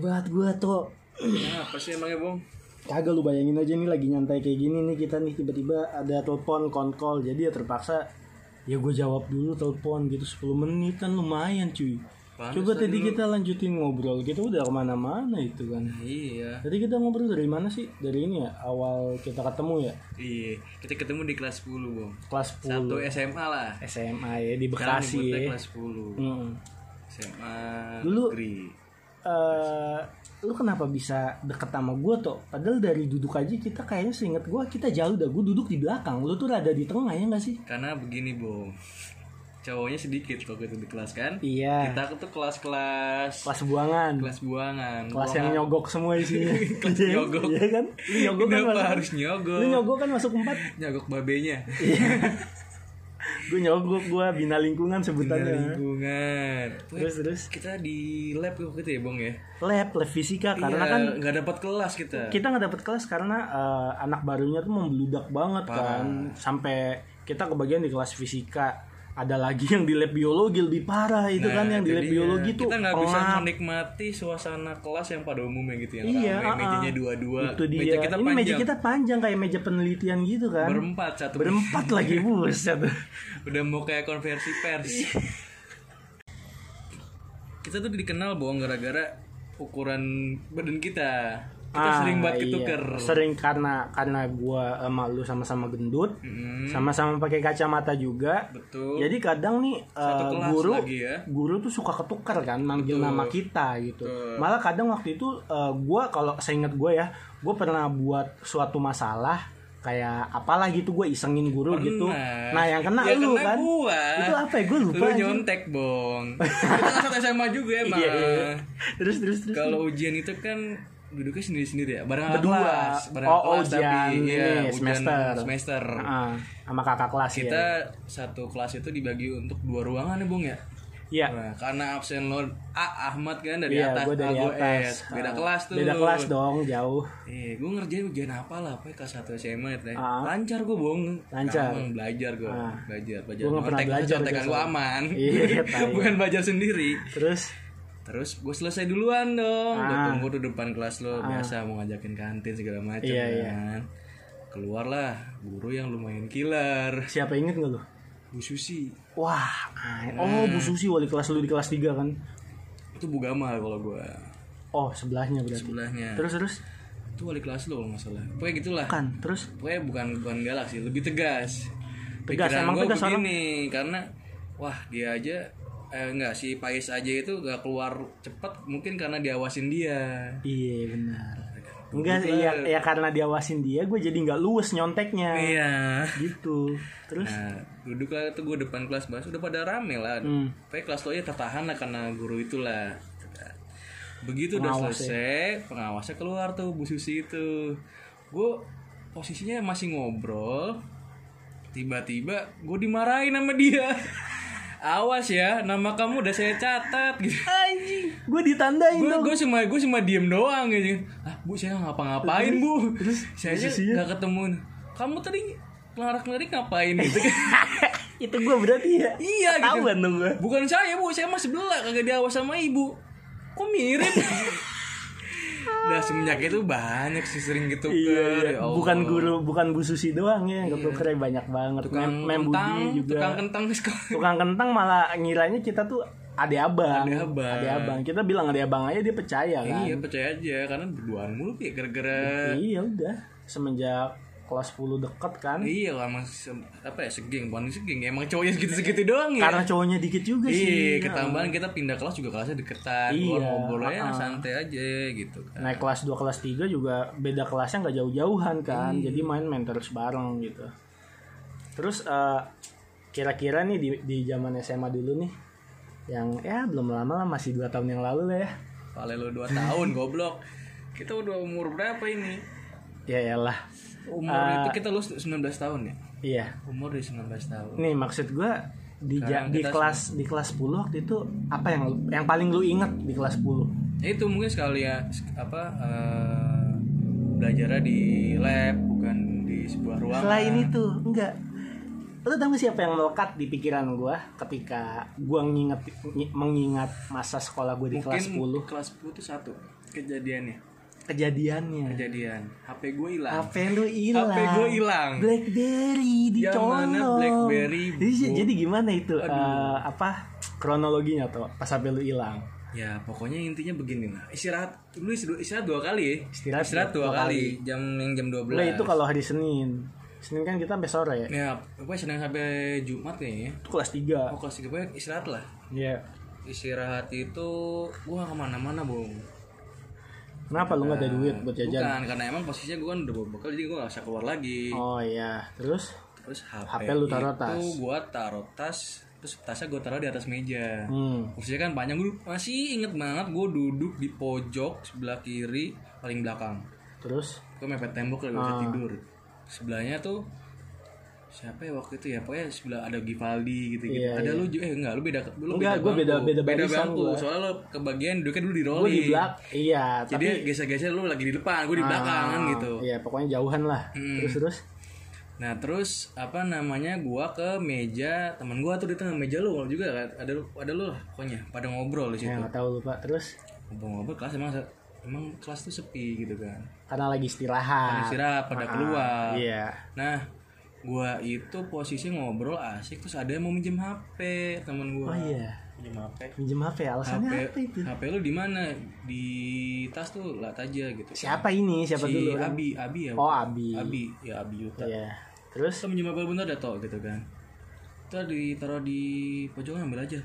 berat gue tuh Kenapa sih emangnya bung? kagak lu bayangin aja nih lagi nyantai kayak gini nih kita nih tiba-tiba ada telepon konkol jadi ya terpaksa ya gue jawab dulu telepon gitu 10 menit kan lumayan cuy Pantesan coba tadi lu- kita lanjutin ngobrol kita udah kemana-mana itu kan Iya. tadi kita ngobrol dari mana sih dari ini ya awal kita ketemu ya Iya. Kita ketemu di kelas 10 bung. kelas 10 Satu SMA lah. SMA ya di Sekarang Bekasi nyebutnya ya Kelas 10 Mm. SMA Dulu- negeri. Eh, lu kenapa bisa deket sama gue tuh? Padahal dari duduk aja kita kayaknya seinget gue kita jauh dah. Gue duduk di belakang, lu tuh rada di tengah ya nggak sih? Karena begini bung. Cowoknya sedikit waktu itu di kelas kan. Iya. Kita tuh kelas-kelas Kelas buangan, kelas, kelas buangan. yang Buangan- nyogok semua isinya. Kelas Iya, nyogok. Iya kan? Lu nyogok kan Kenapa masuk- harus nyogok? Lu nyogok kan masuk empat. Nyogok babenya. gue nyogok, gue bina lingkungan Bina sebutannya. lingkungan. Iya. Terus terus Kita di lab waktu itu ya bung ya. lab lab fisika karena Iya, kan nggak dapat kelas kita. kita nggak dapat kelas karena eh, anak barunya tuh membludak banget kan sampai kita kebagian di kelas fisika ada lagi yang di lab biologi lebih parah itu Nah, kan yang di lab dia. biologi tuh kita nggak bisa pengap. menikmati suasana kelas yang pada umumnya gitu yang iya ah, ramai, ah. mejanya dua-dua itu dia meja kita ini panjang meja kita panjang kayak meja penelitian gitu kan berempat satu berempat lagi buset udah mau kayak konversi pers Iya. kita tuh dikenal bohong gara-gara ukuran badan kita kita Ah, sering banget iya. ketuker sering karena karena gua sama lu sama-sama gendut Mm, sama-sama pakai kacamata juga betul Jadi kadang nih Satu eh, kelas guru lagi ya. guru tuh suka ketukar kan manggil nama kita gitu. Betul. Malah kadang waktu itu eh, gua kalau saya ingat gue ya, gue pernah buat suatu masalah kayak apalah gitu gue isengin guru Pernah. gitu. Nah, yang kena Ya, lu kena kan. gua. Itu apa ya? Gue lupa. lu anjing. nyontek bong kita kan satu SMA juga emang Iya, iya, iya. Terus terus terus. Kalau ujian itu kan duduknya sendiri-sendiri ya, bareng Berdua. kelas, bareng Oh, kelas ujian tapi ini, iya, ujian semester. semester. Heeh, sama kakak kelas ya. Kita satu kelas itu dibagi untuk dua ruangan ya, Bung ya. Iya. Nah, karena absen lo A Ahmad kan dari Iya, atas, gue dari A, gua S. atas. Beda Ah, kelas tuh. Beda lu. kelas dong, jauh. Eh, gue ngerjain ujian apa lah, apa ya, kelas 1 SMA ya. Ah. Lancar gue bohong. Lancar. Ah. Emang belajar gue, belajar, belajar. Gua nggak pernah Nyontek- belajar, nyontekan gue biasa. aman. Iya, tai. Bukan belajar sendiri. Terus Terus gue selesai duluan dong. Gue Ah. tunggu tuh depan kelas lo biasa mau ngajakin kantin segala macam Iya, iya. kan. Keluarlah guru yang lumayan killer. siapa inget gak lu? Bu Susi. Wah, ay- Nah. oh Bu Susi wali kelas lu di kelas 3 kan? Itu Bu Gamal kalau gue Oh, sebelahnya berarti. sebelahnya. Terus terus Itu wali kelas lo kalau nggak salah. Pokoknya gitulah. kan terus Pokoknya bukan bukan galak sih, lebih tegas. Tegas, Pikiran emang gua tegas orang. begini karena wah dia aja eh, enggak si Pais aja itu gak keluar cepat mungkin karena diawasin dia. iya benar. Enggak ya, ya karena diawasin dia gue jadi nggak luwes nyonteknya Iya. gitu. Terus Nah, duduk lah tuh gue depan kelas bahas udah pada rame lah. Hmm. Pokoknya kelas lo ya tertahan lah karena guru itulah. Begitu udah Pengawas ya. selesai, pengawasnya keluar tuh Bu Susi itu. Gue posisinya masih ngobrol, tiba-tiba gue dimarahin sama dia. Awas ya, nama kamu udah saya catat gitu. anjing, gue ditandain Gue dong. gue cuma gue cuma diem doang gitu. Ah, Bu saya nggak ngapa-ngapain, Bu. terus Bu saya aja Susinya? nggak ketemu. Kamu tadi ngelarak-ngelarik ngapain gitu kan. Itu gue berarti ya. Iya gitu. Ketahuan dong gue. Bukan saya bu, saya mah sebelah kagak diawas sama ibu. Kok mirip? Nah semenjak itu banyak sih sering gitu Iya, Ker. iya. Ya Allah. Iya. bukan guru, bukan Bu Susi doang ya. Gak keren banyak banget. Tukang Mem- Mem Budi kentang, juga. tukang kentang di sekolah. Tukang kentang malah ngiranya kita tuh ade abang. Ade abang. Ade abang. Kita bilang ade abang aja dia percaya kan. Iya percaya aja karena berduaan mulu ya gara-gara Iya udah semenjak kelas 10 deket kan. iya lah emang se- apa ya segeng bukan segeng emang cowoknya segitu-segitu doang ya. Iya. Karena cowoknya dikit juga Iya, sih. ketambahan kita pindah kelas juga kelasnya deketan, Iya, keluar ngobrolnya uh-uh. santai aja gitu kan. Naik kelas 2 kelas 3 juga beda kelasnya nggak jauh-jauhan kan. Iya. Jadi main main terus bareng gitu. Terus eh, kira-kira nih di di zaman SMA dulu nih yang ya belum lama lah masih dua tahun yang lalu lah ya. Paling lu 2 tahun goblok. Kita udah umur berapa ini? Ya iyalah. Umur itu kita lulus 19 tahun ya. Iya. Ah. Umur di 19 tahun. Nih maksud gua di ja- Sekarang di kita kelas di kelas 10 waktu itu apa yang lu- yang paling lu inget di kelas 10? Ya itu mungkin sekali ya sk- apa eh, belajarnya di lab bukan di sebuah ruangan. Selain itu, enggak. Lo tau gak siapa yang melekat di pikiran gua ketika gua nginget, ngi- mengingat masa sekolah gue di mungkin kelas 10? kelas 10 itu satu. kejadiannya kejadiannya kejadian HP gue hilang HP lu hilang HP gua hilang. BlackBerry dicolong Yang mana BlackBerry, jadi, Bu? jadi gimana itu eh, apa kronologinya tuh pas HP lu hilang ya pokoknya intinya begini lah istirahat lu istirahat, istirahat dua kali ya Istirahat dua, dua kali. jam yang jam 12 Lah itu kalau hari Senin Senin kan kita sampai sore ya ya gue senang sampai Jumat kayaknya itu kelas 3 oh kelas tiga gue istirahat lah Iya istirahat itu gue gak kemana-mana bung Kenapa lu gak ada duit buat jajan? bukan karena emang posisinya gue kan udah bawa bekal jadi gue gak bisa keluar lagi Oh iya Terus? terus HP, HP lu taruh itu gue taruh tas terus tasnya gue taruh di atas meja Hmm Kursinya kan panjang gue masih inget banget gue duduk di pojok sebelah kiri paling belakang. Terus? Gue mepet tembok lagi Ah. bisa tidur. Sebelahnya tuh siapa ya waktu itu ya pokoknya sebelah ada Givaldi gitu gitu. Iya, ada lu juga eh enggak lu beda lu Enggak, gua beda- bangku. beda beda barisan bangku. gua. Soalnya lu kebagian duduknya dulu di Gue rolling. di belak Iya Jadi geser-geser lu lagi di Ah. depan, gue di belakang kan gitu. Iya pokoknya jauhan lah Terus terus? Nah terus apa namanya gua ke meja teman gua tuh di tengah meja lu juga kan ada lu ada lu lah pokoknya pada ngobrol di situ. Ya gak tau lupa Terus? ngobrol-ngobrol kelas emang emang kelas tuh sepi gitu kan Karena lagi istirahat istirahat pada keluar Ah. Iya nah gua itu posisi ngobrol asik terus ada yang mau minjem HP temen gua Oh iya minjem HP Minjem HP alasannya apa itu? HP lu di mana di tas tuh lah aja gitu Siapa ini? Siapa si dulu? Abi Abi ya Oh Abi Abi ya Abi Yuta Iya Terus? terus minjem HP bentar dah toh gitu kan kita ditaruh di pojokan ambil aja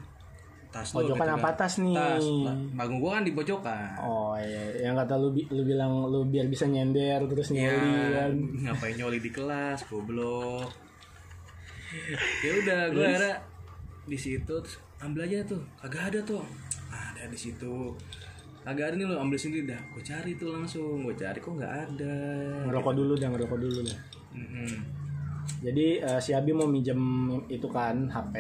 tas lu Pojokan apa tas nih? tas Lah, bangun gua kan di pojokan Oh iya, yang kata lu, bi- lu bilang lu biar bisa nyender terus nyoli Ya, kan. ngapain nyoli di kelas goblok ya udah gue ada di situ terus ambil aja tuh kagak ada tuh Ah, ada di situ kagak ada nih lo ambil sendiri dah gue cari tuh langsung gue cari kok nggak ada Ngerokok dulu dah, ngerokok dulu dah. Mm-mm. Jadi eh, si Abi mau minjem itu kan HP.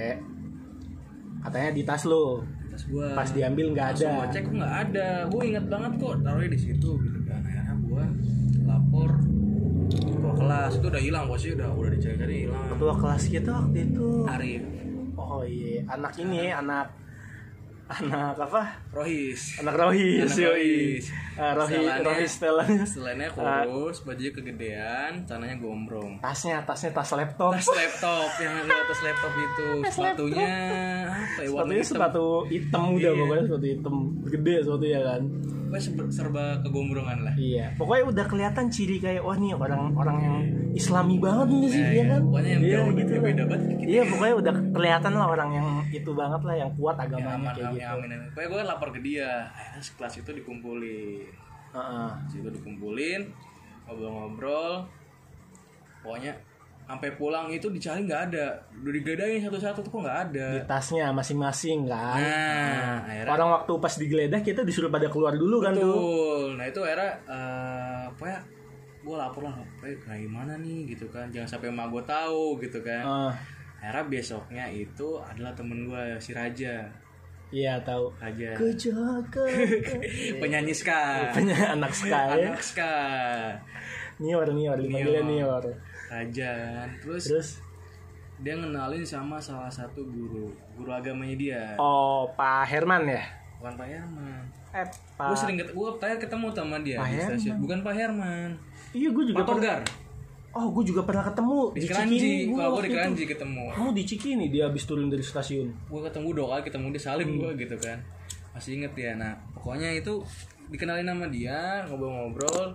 Katanya di tas lu. tas gue Pas diambil nggak ada. langsung gue cek kok nggak ada gue inget banget kok taruhnya di situ gitu kan akhirnya gue lapor ketua kelas itu udah hilang bosnya udah udah dicari-cari hilang Ketua kelas kita waktu itu. Arif Oh iya, anak ini anak anak apa? Rohis Anak Rohis, Anak yoi. Rohis. Eh, Rohis, Setelannya- Rohis telan. Selainnya kurus, bajunya kegedean, tanahnya gombrong. Tasnya, tasnya tas laptop. Tas laptop yang ada atas laptop itu, sepatunya apa ya warna Sepatunya hitam. Iya. sepatu hitam udah pokoknya sepatu hitam gede sepatu ya kan. Pokoknya serba- serba kegombrongan lah. Iya, pokoknya udah kelihatan ciri kayak wah nih orang orang yang Islami banget nih sih Nah, dia ya, kan. Pokoknya yang Iya, jauh gitu gitu lah. beda banget. Gitu. Iya, pokoknya udah kelihatan lah orang yang itu banget lah yang kuat Ya, agamanya aman, kayak amin, gitu. amin, amin. Pokoknya gue lapor ke dia. Akhirnya sekelas itu dikumpulin. Heeh. Situ dikumpulin, ngobrol-ngobrol. Pokoknya sampai pulang itu dicari nggak ada. Udah digadain satu-satu tuh kok nggak ada. Di tasnya masing-masing kan. Nah, akhirnya Orang waktu pas digeledah kita disuruh pada keluar dulu kan tuh. Betul. Nah itu akhirnya eh, apa ya? Gue lapor lah, eh kayak gimana nih gitu kan? Jangan sampai emak gue tahu gitu kan. Heeh. Akhirnya besoknya itu adalah temen gue si Raja, iya, tahu. Raja Kecelakaan. penyanyi ska, Punya anak sekali. anak ska, Nior, nior, dipanggilnya nior. Raja. Terus Terus dia ngenalin sama salah satu guru, guru agamanya dia. oh Pak Herman ya? Bukan Pak Herman. Eh, Pak. Gue sering ketemu, gue terakhir ketemu sama dia Pak di stasiun. Bukan Pak Herman, Iya, gue juga Pak Togar. Oh, gue juga pernah ketemu Di di Cikini. Keranji, Gua kalau gue waktu di itu. Keranji ketemu. Kamu di Cikini dia habis turun dari stasiun. gue ketemu dua kali ketemu dia salim gue Hmm. gitu kan masih inget ya nah pokoknya itu dikenalin nama dia ngobrol-ngobrol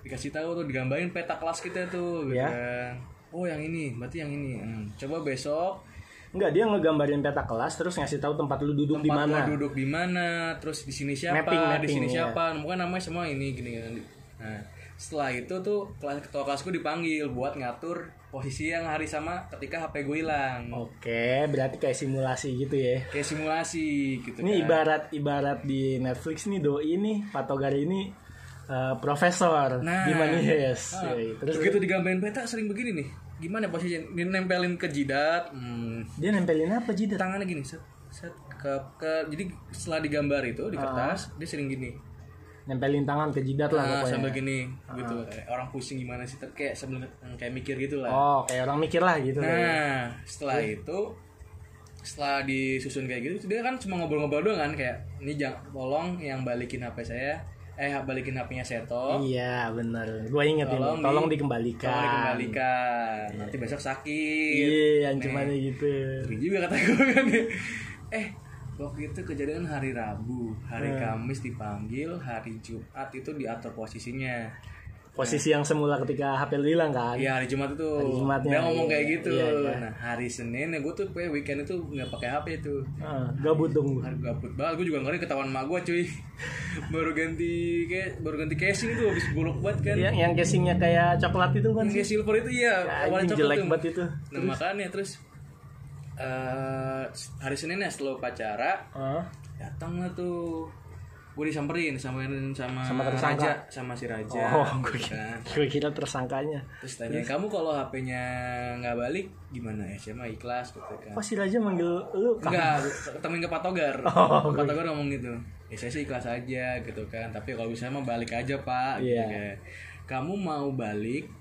dikasih tahu tuh digambarin peta kelas kita tuh gitu Ya. kan oh yang ini berarti yang ini Hmm, coba besok Enggak, dia ngegambarin peta kelas terus ngasih tahu tempat lu duduk di tempat mana. gua duduk di mana terus di sini siapa Mapping, di mapping, sini ya. siapa Nah, pokoknya namanya semua ini gini gini nah setelah itu tuh kelas ketua kelasku dipanggil buat ngatur posisi yang hari sama ketika HP gue hilang Oke, berarti kayak simulasi gitu ya. kayak simulasi gitu Ini kan. ibarat ibarat di Netflix nih doi ini, Pak Togar ini eh, profesor Nah. di Manihes. Ah, Yoi. Terus begitu digambarin peta sering begini nih. Gimana posisi Dia nempelin ke jidat. Hmm. dia nempelin apa jidat? Tangannya gini, set, set, ke, ke- jadi setelah digambar itu di kertas, dia sering gini. Nempelin tangan ke jidat lah Nah, Ah. pokoknya. Ah. sambil gini gitu. Kayak Orang pusing gimana sih ter- kayak sebelum kayak mikir gitu lah. Oh, kayak orang mikir lah gitu. Nah, setelah Iya. itu setelah disusun kayak gitu dia kan cuma ngobrol-ngobrol doang kan kayak ini jangan tolong yang balikin HP saya eh balikin HP-nya Seto. Iya bener Gue inget ini Tolong Tolong di- dikembalikan Tolong dikembalikan. Nanti besok sakit. Iya yang cuman Nah. gitu Ngeri juga kata gue kan ya. Eh, waktu itu kejadian hari Rabu, hari Iya. Kamis dipanggil, hari Jumat itu diatur posisinya. Posisi yang semula ketika HP lu hilang kan Iya hari Jumat itu Jumatnya, dia ngomong iya, kayak gitu. iya, iya. Nah hari Senin ya gue tuh kayak weekend itu nggak pakai HP itu. Heeh, Ah, Gabut dong gua. Hari gabut banget, gue juga ngeri ketahuan emak gue cuy Baru ganti kayak baru ganti casing itu habis bolok banget kan Yang, yang casingnya kayak coklat itu kan Yang silver itu ya, Iya. Anjing warna coklat jelek tuh banget itu Nah makanya terus eh hari Senin ya setelah upacara Heeh. datang lah tuh gue disamperin samperin sama, Sama tersangka. Raja sama si Raja Oh, gitu gue kan. kira, gue kira tersangkanya. terus tanya kamu kalau HP-nya nggak balik gimana ya saya mah ikhlas gitu kan Pas si Raja manggil lu kan? enggak temen ke Pak Togar Oh, Pak Togar ngomong gitu ya saya sih ikhlas aja gitu kan tapi kalau bisa mah balik aja Pak gitu Iya. kan. kamu mau balik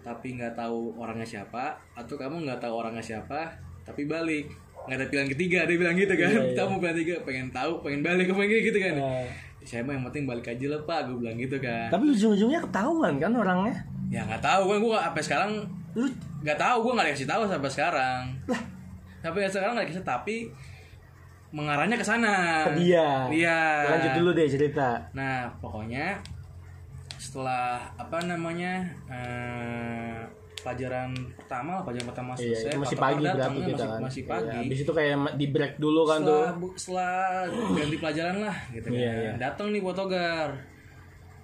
tapi nggak tahu orangnya siapa atau kamu nggak tahu orangnya siapa tapi balik nggak ada pilihan ketiga dia bilang gitu kan Iya, iya. kamu pilihan ketiga pengen tahu pengen balik pengen kayak gitu kan Nah, saya mah yang penting balik aja lah Pak gue bilang gitu kan tapi ujung-ujungnya ketahuan kan orangnya. ya nggak tahu kan gue sampai sekarang Lu nggak tahu gue nggak dikasih tahu sampai sekarang sampai sekarang nggak dikasih tapi mengarahnya ke sana Ke dia. iya lanjut dulu deh cerita. nah pokoknya setelah apa namanya eh, pelajaran pertama lah pelajaran pertama Iya, selesai itu masih Pak pagi Togar datang, berarti ya, kita masih, kan. masih pagi Iya, abis itu kayak ma- di break dulu kan tuh. setelah, bu- setelah ganti pelajaran lah gitu kan. Iya, iya. Datang nih Botogar.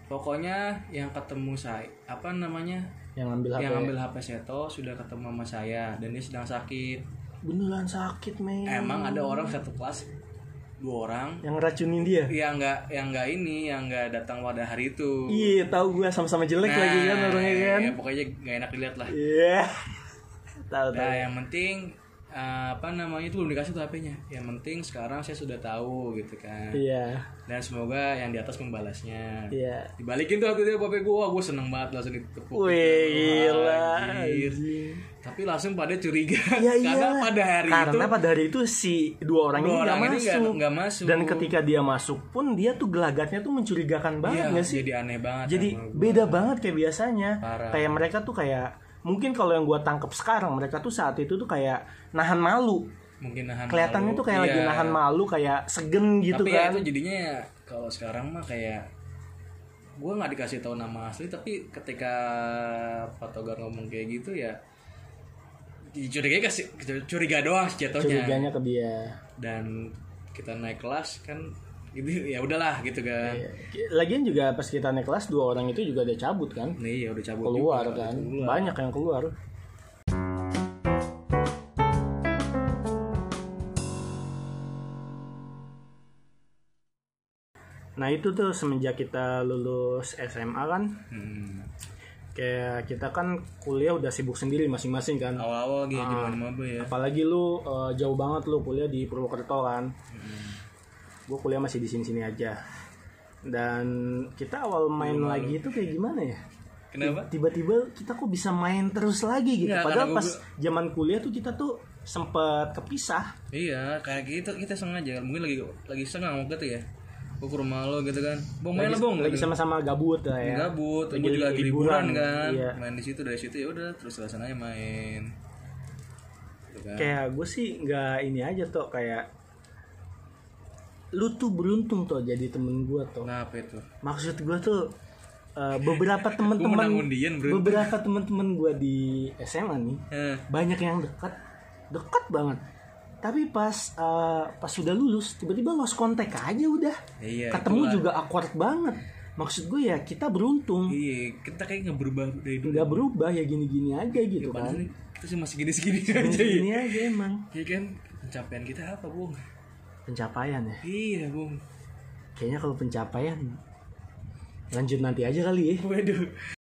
Pokoknya yang ketemu saya apa namanya? Yang ngambil HP. Yang ambil HP Seto sudah ketemu sama saya dan dia sedang sakit. Beneran sakit, men. Emang ada orang satu kelas dua orang Yang racunin dia. yang nggak yang nggak ini yang nggak datang pada hari itu. Iya, tahu gua sama-sama jelek lagi kan orangnya kan. ya, pokoknya nggak enak dilihat lah. Iya. Tahu tahu. Nah, yang penting eh, apa namanya itu belum dikasih tuh HP-nya. Yang penting sekarang saya sudah tahu gitu kan. Iya. dan semoga yang di atas membalasnya Iya. dibalikin tuh waktu itu ya, bapak gue wah gue seneng banget langsung ditepuk Wih, gila. Anjir. anjing. tapi langsung pada curiga Ya, karena iyalah. pada hari itu karena pada hari itu si dua orang dua ini nggak orang ini nggak- masuk. nggak masuk. dan ketika dia masuk pun dia tuh gelagatnya tuh mencurigakan banget Iya, nggak sih jadi aneh banget jadi sama gua. beda banget kayak biasanya Parah. kayak mereka tuh kayak mungkin kalau yang gua tangkep sekarang mereka tuh saat itu tuh kayak nahan malu mungkin nahan kelihatannya malu. tuh kayak lagi Iya. nahan malu kayak segen gitu tapi ya kan itu jadinya ya, kalau sekarang mah kayak gue nggak dikasih tahu nama asli tapi ketika Pak Togar ngomong kayak gitu ya curiga kasih curiga doang sih jatuhnya curiganya ke dia dan kita naik kelas kan gitu ya udahlah gitu kan Iya. lagian juga pas kita naik kelas dua orang itu juga ada cabut kan nih ya udah cabut keluar juga, gitu. kan keluar. banyak yang keluar Nah itu tuh semenjak kita lulus SMA kan Hmm. Kayak kita kan kuliah udah sibuk sendiri masing-masing kan awal-awal gitu gimana maba ya Apalagi lu eh, jauh banget lu kuliah di Purwokerto kan Hmm. Gue kuliah masih di sini-sini aja Dan kita awal main Iya. lagi itu kayak gimana ya kenapa tiba-tiba kita kok bisa main terus lagi gitu. Iya, Padahal karena pas gua- zaman kuliah tuh kita tuh sempet kepisah. iya kayak gitu kita sengaja mungkin lagi lagi sengang waktu itu ya gue ke rumah lo gitu kan bong main lah bong Lagi gitu. sama-sama gabut lah ya. gabut Lagi gue juga lagi liburan, liburan kan iya. main di situ dari situ ya udah terus terusan aja main gitu kan Kayak gue sih nggak ini aja tuh kayak lu tuh beruntung tuh jadi temen gue tuh. kenapa itu Maksud gue tuh eh, beberapa menang temen-temen undian, beruntung. beberapa temen-temen gue di SMA nih eh, banyak yang dekat dekat banget tapi pas eh, pas sudah lulus tiba-tiba lost kontak aja udah Iya, ketemu itulah. juga awkward banget maksud gue ya kita beruntung iya kita kayak nggak berubah dari dulu nggak berubah ya gini-gini aja gitu Padahal kan nih, kita sih masih gini-segini aja ya. gini aja emang Iya kan pencapaian kita apa bung? pencapaian ya Iya bung. kayaknya kalau pencapaian lanjut nanti aja kali ya Waduh,